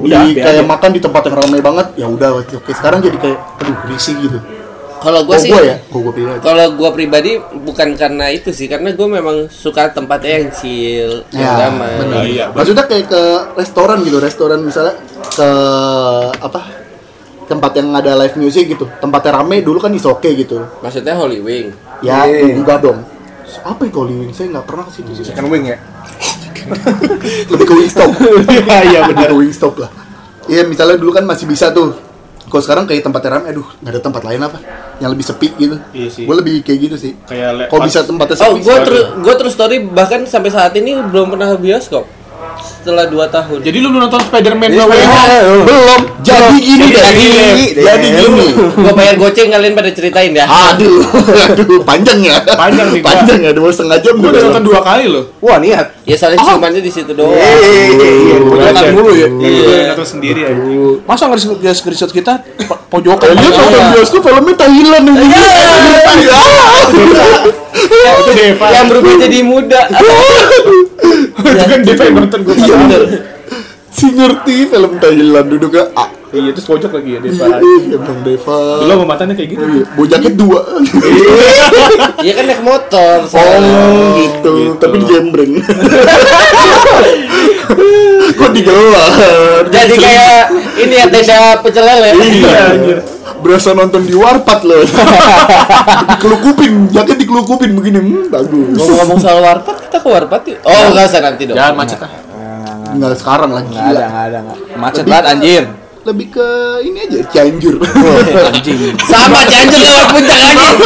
udah, di, biar kayak aja. makan di tempat yang ramai banget ya udah oke oke. sekarang jadi kayak aduh berisi gitu kalau gua gua sih gua ya gua gua pilih aja kalau gua pribadi bukan karena itu sih karena gua memang suka tempatnya yang chill, yang Ya, damai. benar. Oh, iya, benar. Maksudnya kayak ke restoran gitu, restoran misalnya ke apa? Tempat yang ada live music gitu, tempatnya rame dulu kan is oke gitu. Maksudnya Holy Wing. Ya, enggak dong. Apa itu Holy Wings? Saya nggak pernah ke situ sih. Iya. Chicken wing ya. Lebih ke Wingstop. Iya, iya Lebih ke Wingstop lah. Iya, misalnya dulu kan masih bisa tuh. Kalau sekarang kayak tempatnya rame, aduh, nggak ada tempat lain apa? Yang lebih sepi gitu. Iya sih. Gue lebih kayak gitu sih. Kayak le- Kalau pas- bisa tempatnya Oh, sepi. gua terus gua terus story bahkan sampai saat ini belum pernah ke bioskop. Setelah 2 tahun. Jadi lu belum nonton Iya, Spider-Man No Way Home? belum jadi gini deh. Jadi Jadi gini. gini. Jadi gini. gua bayar goceng kalian pada ceritain ya. Aduh, aduh, panjang ya. Panjang nih, Pak. Panjang ya, dua setengah jam Gua udah nonton dua kali loh. Wah niat. Ya soalnya Oh. ciumannya di situ doang. Iya, Eh, Pojokan Aja. dulu ya. Iya, gua udah nonton sendiri aja. Masa nggak di- nggak screenshot kita po- Eh, pojokan? dia Iya. nonton bioskop filmnya Thailand ini. Iya. Oh, itu Deva. Iya. Yang berubah jadi muda. Itu kan Deva yang nonton gua. Iya bener. Si ngerti film Thailand duduknya A. Iya, terus pojok lagi ya Deva. Iya, Bang Deva. Belum sama matanya kayak gitu. Iya, Bojaknya dua. Iya kan naik motor. Oh gitu, tapi di gembreng. Kok digelar? Jadi kayak ini ya tenda pecel lele. Iya, anjir. Berasa nonton di warpat loh. dikelukupin, jaket dikelukupin begini, hmm, bagus. Ngomong-ngomong soal warpat, kita ke warpat yuk. Oh, enggak usah nanti dong. Jangan macet ah. Nggak sekarang lagi. Nggak ada, nggak ada, nggak. Macet banget anjir. Lebih ke ini aja Cianjur. Iya. iya. Anjing. Sama Cianjur lewat puncak aja.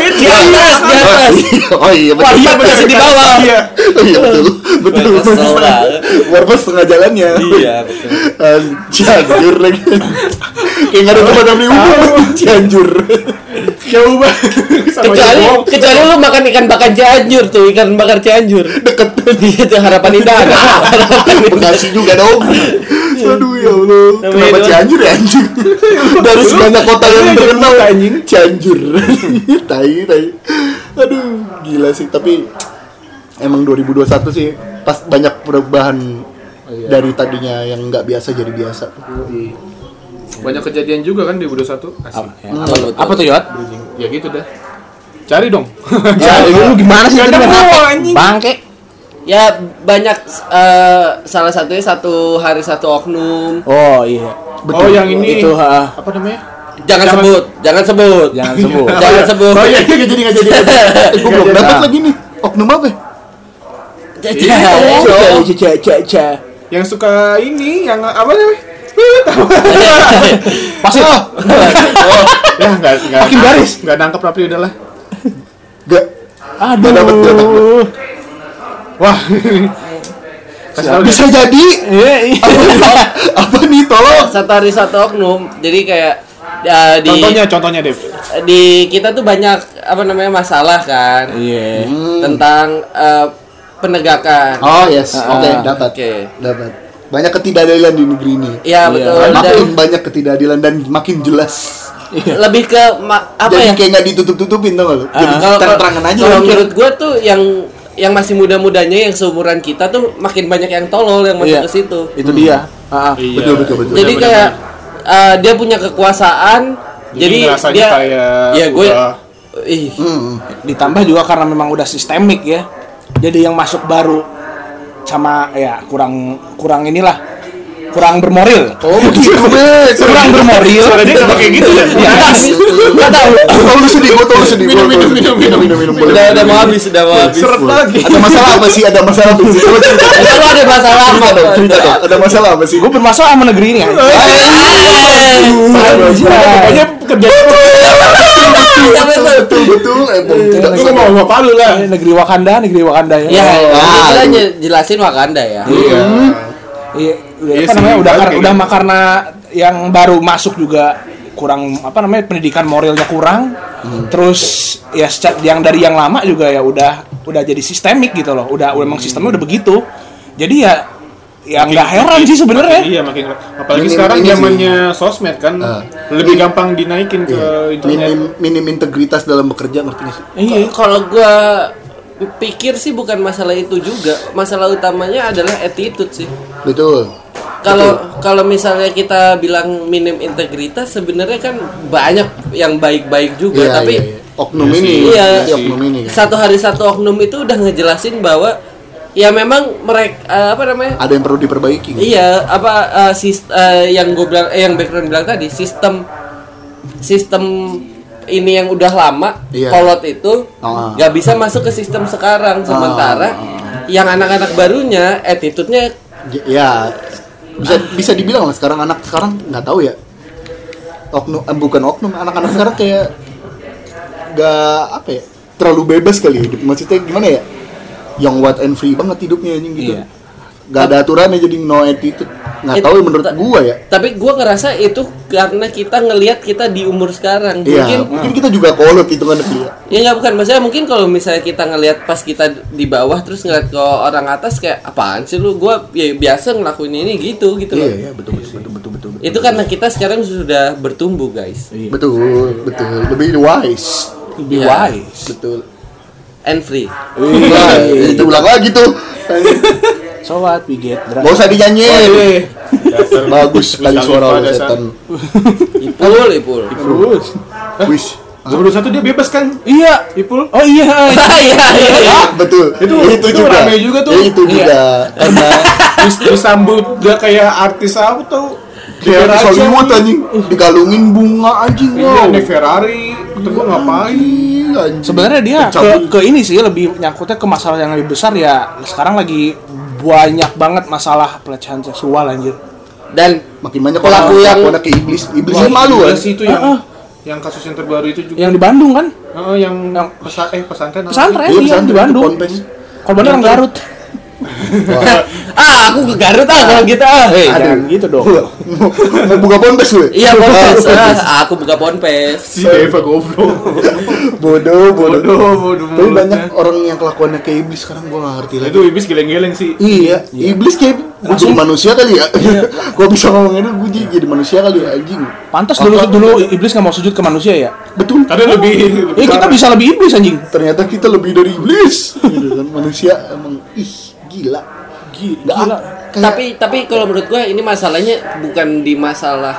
Itu di atas, di atas. oh iya betul. Warpat ya? masih di bawah. Iya. Oh, iya betul. Betul. Gua kesel banget. Warpat setengah jalannya. Iya, betul. Eh, Cianjur lagi. Kayak nggak ada tempat yang diubah. Cianjur. Jauh banget. Sama Kecuali Jauh. kecuali lu makan ikan bakar Cianjur tuh, ikan bakar Cianjur. Deket. Itu harapan indah. ada. Harapan indah. Bekasi juga dong. Aduh ya Allah. Kenapa doang. Cianjur ya anjing? Dari sebanyak kota yang terkenal anjing Cianjur. tai tai. Aduh, gila sih tapi emang 2021 sih pas banyak perubahan Oh, iya. dari tadinya yang nggak biasa jadi biasa. Banyak kejadian juga kan di 2021. Asik. Apa lu tuh? Apa tuh Yot? Ya gitu dah. Cari dong. Ya, Iya. lu gimana sih tadi? Bangke. Ya banyak eh, salah satunya satu hari satu oknum. Oh iya. Oh, yang ini. Itu ha, Apa namanya? Jangan, sebut, jangan sebut. jangan sebut. Jangan sebut. Oh iya, iya, jadi nggak jadi. nggak jadi. Eh, gue belum dapat lagi nih. Oknum apa? ya? iya, Iya, Jangan. Cek, cek, cek, cek, cek. Yang suka ini, yang apa namanya? Tahu. gitu. Pasti. Oh. Ya enggak enggak. Hakim garis. Enggak nangkep tapi udahlah. Gak. Aduh. Dapat, dapat. Wah. Kasih tahu deh. Bisa jadi. Iya, iya. Oh. Apa nih tolong? Satu hari satu oknum. Jadi kayak ya, di Contohnya, contohnya Dev. di kita tuh banyak apa namanya masalah kan Iya. tentang eh, penegakan. Hmm. Oh yes, oke Ah, dapat. oke. Dapat. Banyak ketidakadilan di negeri ini. Ya betul. Dan Makin banyak ketidakadilan dan makin jelas. lebih ke ma- apa Jadi ya? Ah, kayak nggak ditutup-tutupin tau gak lu? Jadi Kalau- terang-terangan aja gitu. kalau lu. menurut gua tuh yang yang masih muda-mudanya yang seumuran kita tuh makin banyak yang tolol yang masuk Iya. ke situ. Itu Hmm. dia. Ah, ah. Betul, betul, betul. Jadi kayak eh, dia punya kekuasaan. Jadi Jadi, ngerasanya dia kayak ya gue udah- ih Hmm. Ditambah juga karena memang udah sistemik ya. Jadi yang masuk baru sama ya kurang kurang inilah kurang bermoral Oh, begitu Bek. kurang bermoral Suara dia kenapa kayak gitu ya? ya Iya. nggak tahu Gua lu sedih, gua tau lu sedih. Minum, gua minum, tau lu sedih. minum, minum, minum. boleh. udah udah mau habis udah mau habis Seret lagi. Ada masalah apa sih? Ada masalah apa sih? Coba cerita. Enggak, lu ada masalah Cerita apa? dong, cerita dong. Ada masalah apa sih? gue bermasalah sama negeri ini Oh, anjing. iya. Pokoknya kerja Iya. Betul. Iya, Iya, Betul, betul. Emang tidak Gue mau ngomong apa lu Iya. lah Eh, negeri Wakanda negeri Wakanda ya ya Ah, kita aduh. nye- jelasin Wakanda ya Iya Iya, udah, Iya apa sih, namanya udah baru kar- kayak udah gitu. mah karena yang baru masuk juga kurang apa namanya pendidikan moralnya kurang. Terus ya seca- yang dari yang lama juga ya udah udah jadi sistemik gitu loh. Udah memang sistemnya udah begitu. Jadi ya ya nggak heran sih sebenarnya. Iya makin Apalagi Minim sekarang ini sih. zamannya sosmed kan Ah. Iya. Lebih gampang dinaikin ke internet minim minim integritas dalam bekerja ngerti nggak sih? Iya. kalau gua pikir sih bukan masalah itu juga masalah utamanya adalah attitude sih Betul. kalau kalau misalnya kita bilang minim integritas sebenarnya kan banyak yang baik-baik juga Iya, tapi iya, iya. oknum Iya ini, sih, iya. si oknum ini. kan. satu hari satu oknum itu udah ngejelasin bahwa ya memang mereka apa namanya Ada yang perlu diperbaiki. nggak? Iya, apa eh, sis- eh, yang gue bilang eh, yang background bilang tadi sistem sistem ini yang udah lama Iya. kolot itu Ah. nggak bisa masuk ke sistem sekarang sementara yang anak-anak barunya attitude-nya J- Ya bisa bisa dibilang lah sekarang anak sekarang nggak tahu ya. Oknum eh, bukan oknum, anak-anak sekarang kayak nggak apa ya? Terlalu bebas kali hidup. Maksudnya gimana ya? Yang what and free banget hidupnya anjing gitu. Iya. Nggak ada aturannya jadi no attitude. Nggak It- tahu ya menurut gua ya. tapi gue ngerasa itu karena kita ngelihat kita di umur sekarang Iya, mungkin mungkin kita juga kolot kan, hitungan dia. ya nggak bukan maksudnya mungkin kalau misalnya kita ngelihat pas kita di bawah terus ngeliat ke orang atas kayak apaan sih lu gue ya, biasa ngelakuin ini gitu gitu loh Iya, iya betul betul betul betul. betul. itu karena kita sekarang sudah bertumbuh guys Betul, betul. Iya. Lebih wise. Lebih Iya. wise. Betul. and free Nah, itu ulang lagi tuh. Iya. So what we get drunk. Gak usah dinyanyiin. Dasar. Bagus sekali Dasar suara lupa lu dasar. setan. ipul ipul Terus. Wish. Gubernur satu dia bebas kan Iya, Ipul oh iya. iya iya Betul. Itu- itu itu juga. rame juga tuh. Itu juga. karena dis- disambut udah kayak artis apa tuh Kayak artis Hollywood anjing. Digalungin bunga anjing. Iya, Wow. naik Ferrari, ketemu ngapain? Ih, anjing. Sebenarnya dia Cabut. ke, ke ini sih lebih nyangkutnya ke masalah yang lebih besar ya. Sekarang lagi banyak banget masalah pelecehan seksual anjir. dan makin banyak Pelaku orang yang- yang ke iblis. Iblis Wah, malu iya kan. sih itu yang yang kasus yang terbaru itu juga. Yang di Bandung kan? Heeh, yang pesa- eh pesantren. apa Pesantren Iya, iya, di pesantren, Bandung. itu ponpes. Korbannya orang Oh, Garut. ah aku ke Garut ah kalau gitu ah Hei, Jangan jangan. gitu dong. Mau Iya. mau buka ponpes lu. iya ponpes ah, aku buka ponpes sih? Si Deva goblok. Bodoh, bodoh. Bodoh, bodoh Tapi mulutnya. banyak orang yang kelakuannya kayak iblis sekarang gua gak ngerti lagi. itu iblis geleng-geleng sih. Iya, iblis kayak gua jadi manusia kali ya. gua bisa ngomongin itu gua jadi, jadi manusia kali ya anjing. Pantas dulu Apa- dulu iblis nggak mau sujud ke manusia ya. Betul. Tapi lebih Oh. Iya, Eh kita parah. bisa lebih iblis anjing. Ternyata kita lebih dari iblis. Gitu kan manusia emang ih gila. Gila. Gila. Kayak- tapi tapi kalau menurut gua ini masalahnya bukan di masalah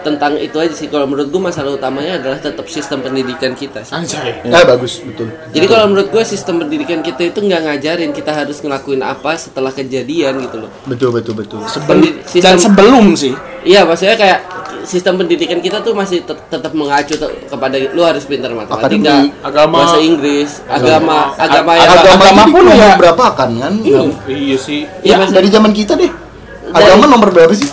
tentang itu aja sih kalau menurut gua masalah utamanya adalah tetap sistem pendidikan kita sih. anjay. eh bagus betul. Jadi kalau menurut gue sistem pendidikan kita itu nggak ngajarin kita harus ngelakuin apa setelah kejadian gitu loh. Betul betul betul. Pendi- Dan sebelum sih. Iya, maksudnya kayak sistem pendidikan kita tuh masih tet- tetap mengacu te- kepada lu harus pintar matematika, Akademik, agama. bahasa Inggris, agama, agama Iya, yang Agama Agama pun pun ya. nomor berapa kan kan? Iya sih. Iya, Ya, maksudnya- dari zaman kita deh. Agama nomor berapa sih?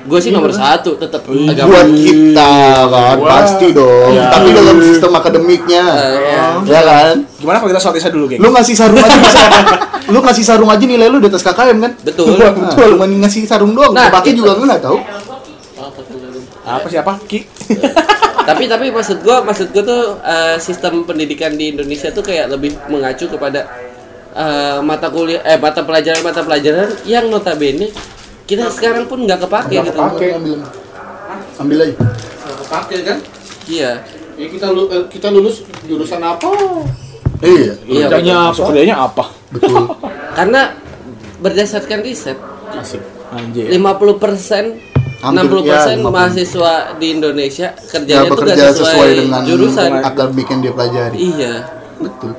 gue sih nomor satu tetap agama. Buat kita kan Buat. pasti dong. Tapi dalam sistem akademiknya. iya. Ya kan? Gimana kalau kita sholat isya dulu, geng? lu ngasih sarung aja bisa lu ngasih sarung aja nilai lu di atas KKM kan Betul. Nah, lu cuma ngasih sarung doang Nah, nah, pakai itu. juga lu nggak tahu Apa siapa? Ki. tapi tapi maksud gue maksud gue tuh eh, sistem pendidikan di Indonesia tuh kayak lebih mengacu kepada eh, mata kuliah eh mata pelajaran mata pelajaran yang notabene kita sekarang pun nggak kepake gitu. pakai ambil ambil aja Kepake kan? Iya. Ya kita lu- eh, kita lulus jurusan apa? iya Iya. Kerjanya apa? Kerjanya apa? betul Karena berdasarkan riset Asik. Anjir. 50 persen, 60 Hampir, ya, persen 50%. mahasiswa di Indonesia kerjanya nggak tuh gak Ya, bekerja sesuai, sesuai dengan jurusan. akademik yang dia pelajari Iya. betul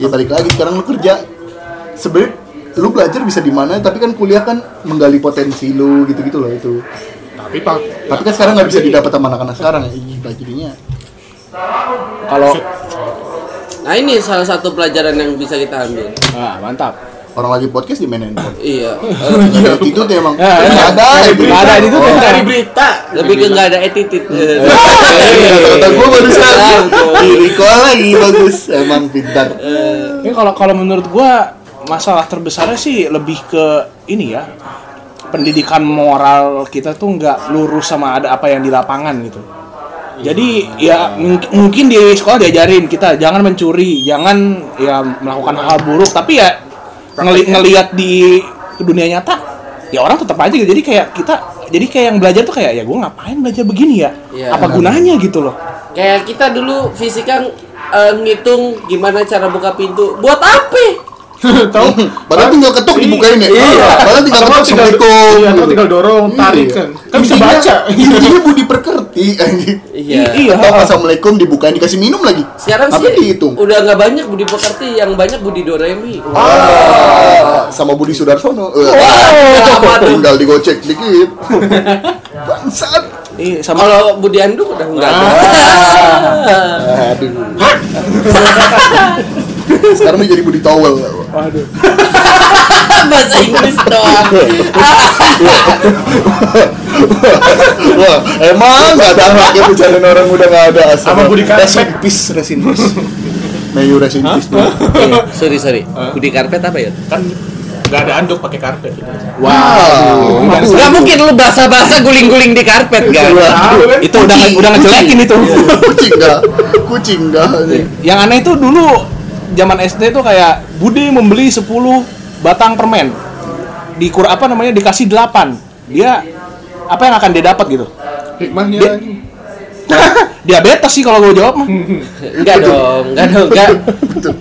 ya balik lagi sekarang lu kerja sebenarnya lu belajar bisa di mana tapi kan kuliah kan menggali potensi lu gitu-gitu loh itu tapi pak tapi kan sekarang nggak bisa didapat sama anak-anak sekarang ya gila jadinya Kalau Nah ini salah satu pelajaran yang bisa kita ambil. ah, mantap. orang lagi podcast di main handphone Iya. Nggak ada attitude emang Ya, ya. nggak ada gitu. Nggak ada itu Eh, attitude. Oh. dari berita lebih ke nggak ada attitude. Eh, Hmm. iya, kata gue barusan Betul. di recall lagi bagus emang pintar Ini Ya, kalau kalau menurut gua masalah terbesarnya sih lebih ke ini ya. Pendidikan moral kita tuh nggak lurus sama ada apa yang di lapangan gitu. Jadi ya mung- mungkin di sekolah diajarin kita jangan mencuri, jangan ya melakukan hal buruk, tapi ya ngeli- ngelihat di dunia nyata ya orang tetap aja gitu. Jadi kayak kita jadi kayak yang belajar tuh kayak ya gua ngapain belajar begini ya? Iya. apa gunanya gitu loh. Kayak kita dulu fisika eh, ngitung gimana cara buka pintu. Buat apa? tahu Padahal tinggal ketuk dibukain ya. iya Padahal tinggal Atau ketuk tinggal- assalamualaikum. iya, atau gitu. tinggal dorong, tarik kan. Kan bisa Intinya- baca. Ah. Intinya budi perkerti anjing. Iya. Iya. Atau assalamualaikum dibukain dikasih minum lagi. Sekarang Tapi sih dihitung. udah nggak banyak Budi Pekerti, yang banyak Budi Doremi. Ah, sama Budi Sudarsono. Eh, apa tuh? tinggal digocek dikit. Bangsat. Iya, sama Kalau Budi Anduk udah nggak ada. Aduh. Sekarang dia jadi Budi Towel. waduh. Ah. Bahasa Inggris doang. Wah, emang gak ada anaknya bercandaan orang udah gak ada asal. Sama Budi Karpet. Rest in peace, rest in peace. May you rest in peace, bro. Iya, sorry sorry. Budi Karpet apa ya? kan nggak ada anduk pakai karpet Wow. Gak mungkin lu basah-basah guling-guling di karpet kan? Itu udah udah ngejelekin itu. Kucing dah. Kucing dah. Yang aneh itu dulu zaman SD tuh kayak Bude membeli 10 batang permen. Di kur apa namanya dikasih 8. Dia apa yang akan dia dapat gitu? hikmahnya Dia- lagi. Diabetes sih kalau gue jawab mah. Hmm. Enggak dong, enggak dong, enggak.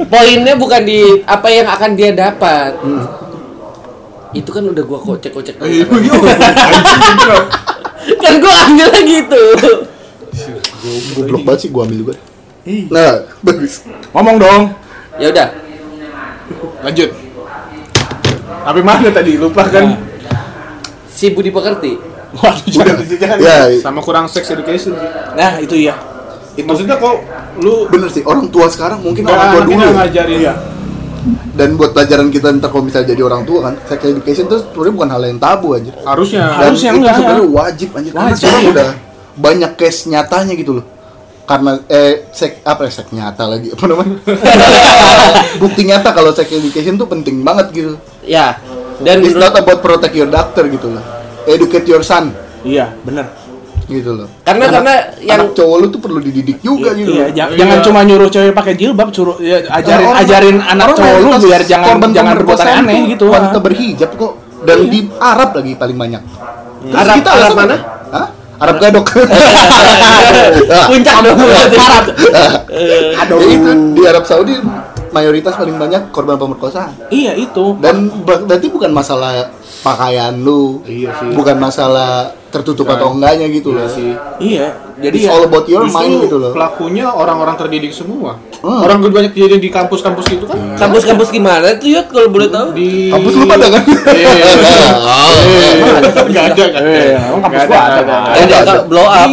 Poinnya bukan di apa yang akan dia dapat. Itu kan udah gua kocek-kocek. Iya, kan iya, iya. gua ambil lagi itu. Goblok banget sih gua ambil juga. Nah, bagus. Ngomong dong. Ya udah. lanjut tapi mana tadi lupa kan Si Budi Pekerti. Waduh, Jangan, jangan. jangan. Ya. sama kurang sex education sih Nah, itu iya. maksudnya kok lu Bener sih, orang tua sekarang mungkin nggak orang tua dulu anaknya ya. ngajarin Dan buat pelajaran kita ntar kalau misalnya jadi orang tua kan Sex education itu sebenarnya bukan hal yang tabu aja harusnya Dan Harusnya itu enggak, sebenarnya wajib anjir Karena Wajib. sekarang udah banyak case nyatanya gitu loh karena eh sek apa ya, sek nyata lagi apa namanya bukti nyata kalau sex education tuh penting banget gitu Ya. Dan It's menurut- not about protect your doctor gitu loh. Educate your son Iya, bener. gitu loh. Karena- anak, karena yang- anak cowok lu tuh perlu dididik juga gitu loh. Iya, ja- Iya. jangan cuma nyuruh cewek pakai jilbab, suruh ya, ajarin Orang- ajarin anak orang cowok lu mayoritas biar jangan korban jangan pemerkosaan berbuat aneh tuh gitu. Iya. Wanita berhijab kok dan di Arab lagi paling banyak. Terus Arab- Arab alasan- mana? Hah? Arab gadok. puncak Iya. dong. Harap. Aduh. itu di Arab Saudi mayoritas paling banyak korban pemerkosaan. Iya, itu. dan ber- berarti bukan masalah pakaian lu Iya sih. bukan masalah tertutup atau enggaknya gitu loh sih Iya. Jadi It's ya, all about your mind Justru gitu loh pelakunya orang-orang terdidik semua. Hmm. Iya. Orang banyak kejadian di kampus-kampus gitu kan. Kampus-kampus gimana tuh Yud kalau boleh tahu? Di Kampus lu pada kan? Iya. iya, iya. Iya, iya. Nggak ada kan? Iya, iya. Emang kampus gua ada, Pak. Eh, Ada, ada. ada. blow up.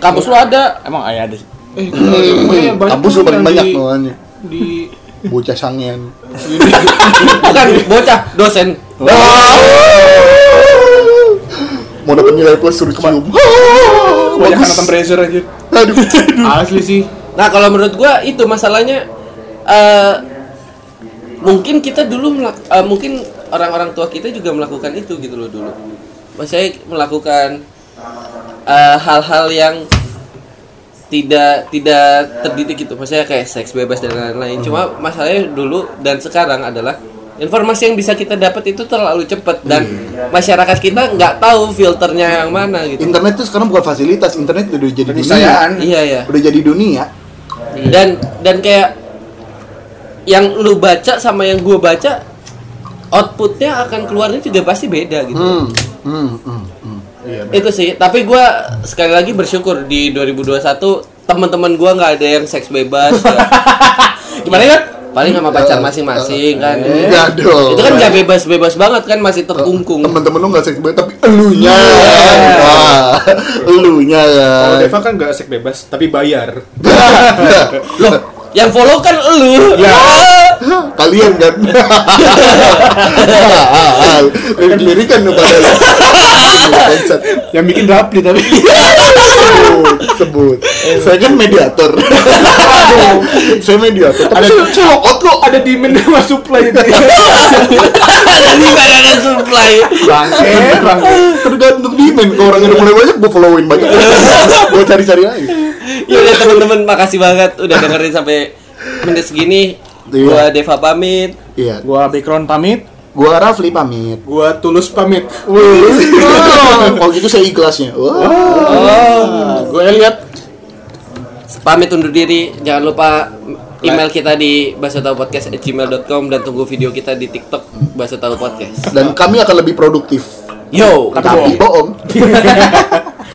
Kampus lu ada. emang ayah ada sih. Eh, pokoknya banyak Hmm. kampus lu tuh paling yang banyak di- namanya Di bocah sangen Bukan bocah, dosen. mau dapat nilai plus suruh cium Banyak bagus nonton pressure aja. aduh Ah, asli sih. Hmm. Nah kalau menurut gua itu masalahnya eh mungkin kita dulu melak- eh, mungkin orang-orang tua kita juga melakukan itu gitu loh dulu. Maksudnya melakukan eh, hal-hal yang tidak tidak terdidik gitu. Maksudnya kayak seks bebas dan lain-lain. Cuma masalahnya dulu dan sekarang adalah informasi yang bisa kita dapat itu terlalu cepat dan masyarakat kita nggak tahu filternya yang mana gitu. internet tuh sekarang bukan fasilitas internet udah jadi dunia Keniscayaan. Iya ya. udah jadi dunia dan dan kayak yang lu baca sama yang gua baca outputnya akan keluarnya juga pasti beda gitu hmm hmm hmm, hmm. itu sih tapi gua sekali lagi bersyukur di 2021 teman-teman gua nggak ada yang seks bebas ya. Gimana ya? paling sama pacar masing-masing kan Enggak eh. dong. itu kan nggak bebas-bebas banget kan masih terkungkung Temen-temen lu gak seks bebas tapi elunya. Wah, elunya Kalau kan. Deva kan nggak seks bebas, tapi bayar. loh yang follow kan elu Ya. Kalian kan. Lirik-lirikan dong pada lu. Bangsat. Yang bikin rapli tapi. sebut, sebut. Saya kan mediator. saya mediator. Tapi saya cowok kok. Ada demand sama supply itu. bukan ada supply Bangke, bangke. Tergantung demand. Kalau orangnya udah mulai banyak, gue followin banyak. gue cari-cari aja. ya udah teman-teman makasih banget udah dengerin sampai menit segini Iya. gua Deva pamit Iya. Gua background pamit. Gua Rafli pamit. Gua tulus pamit. Kalau gitu saya ikhlasnya. Wah. Gua Eliat. pamit undur diri jangan lupa email kita di basotauPodcast@gmail.com dan tunggu video kita di TikTok basotau podcast Dan kami akan lebih produktif. yo Tapi bohong.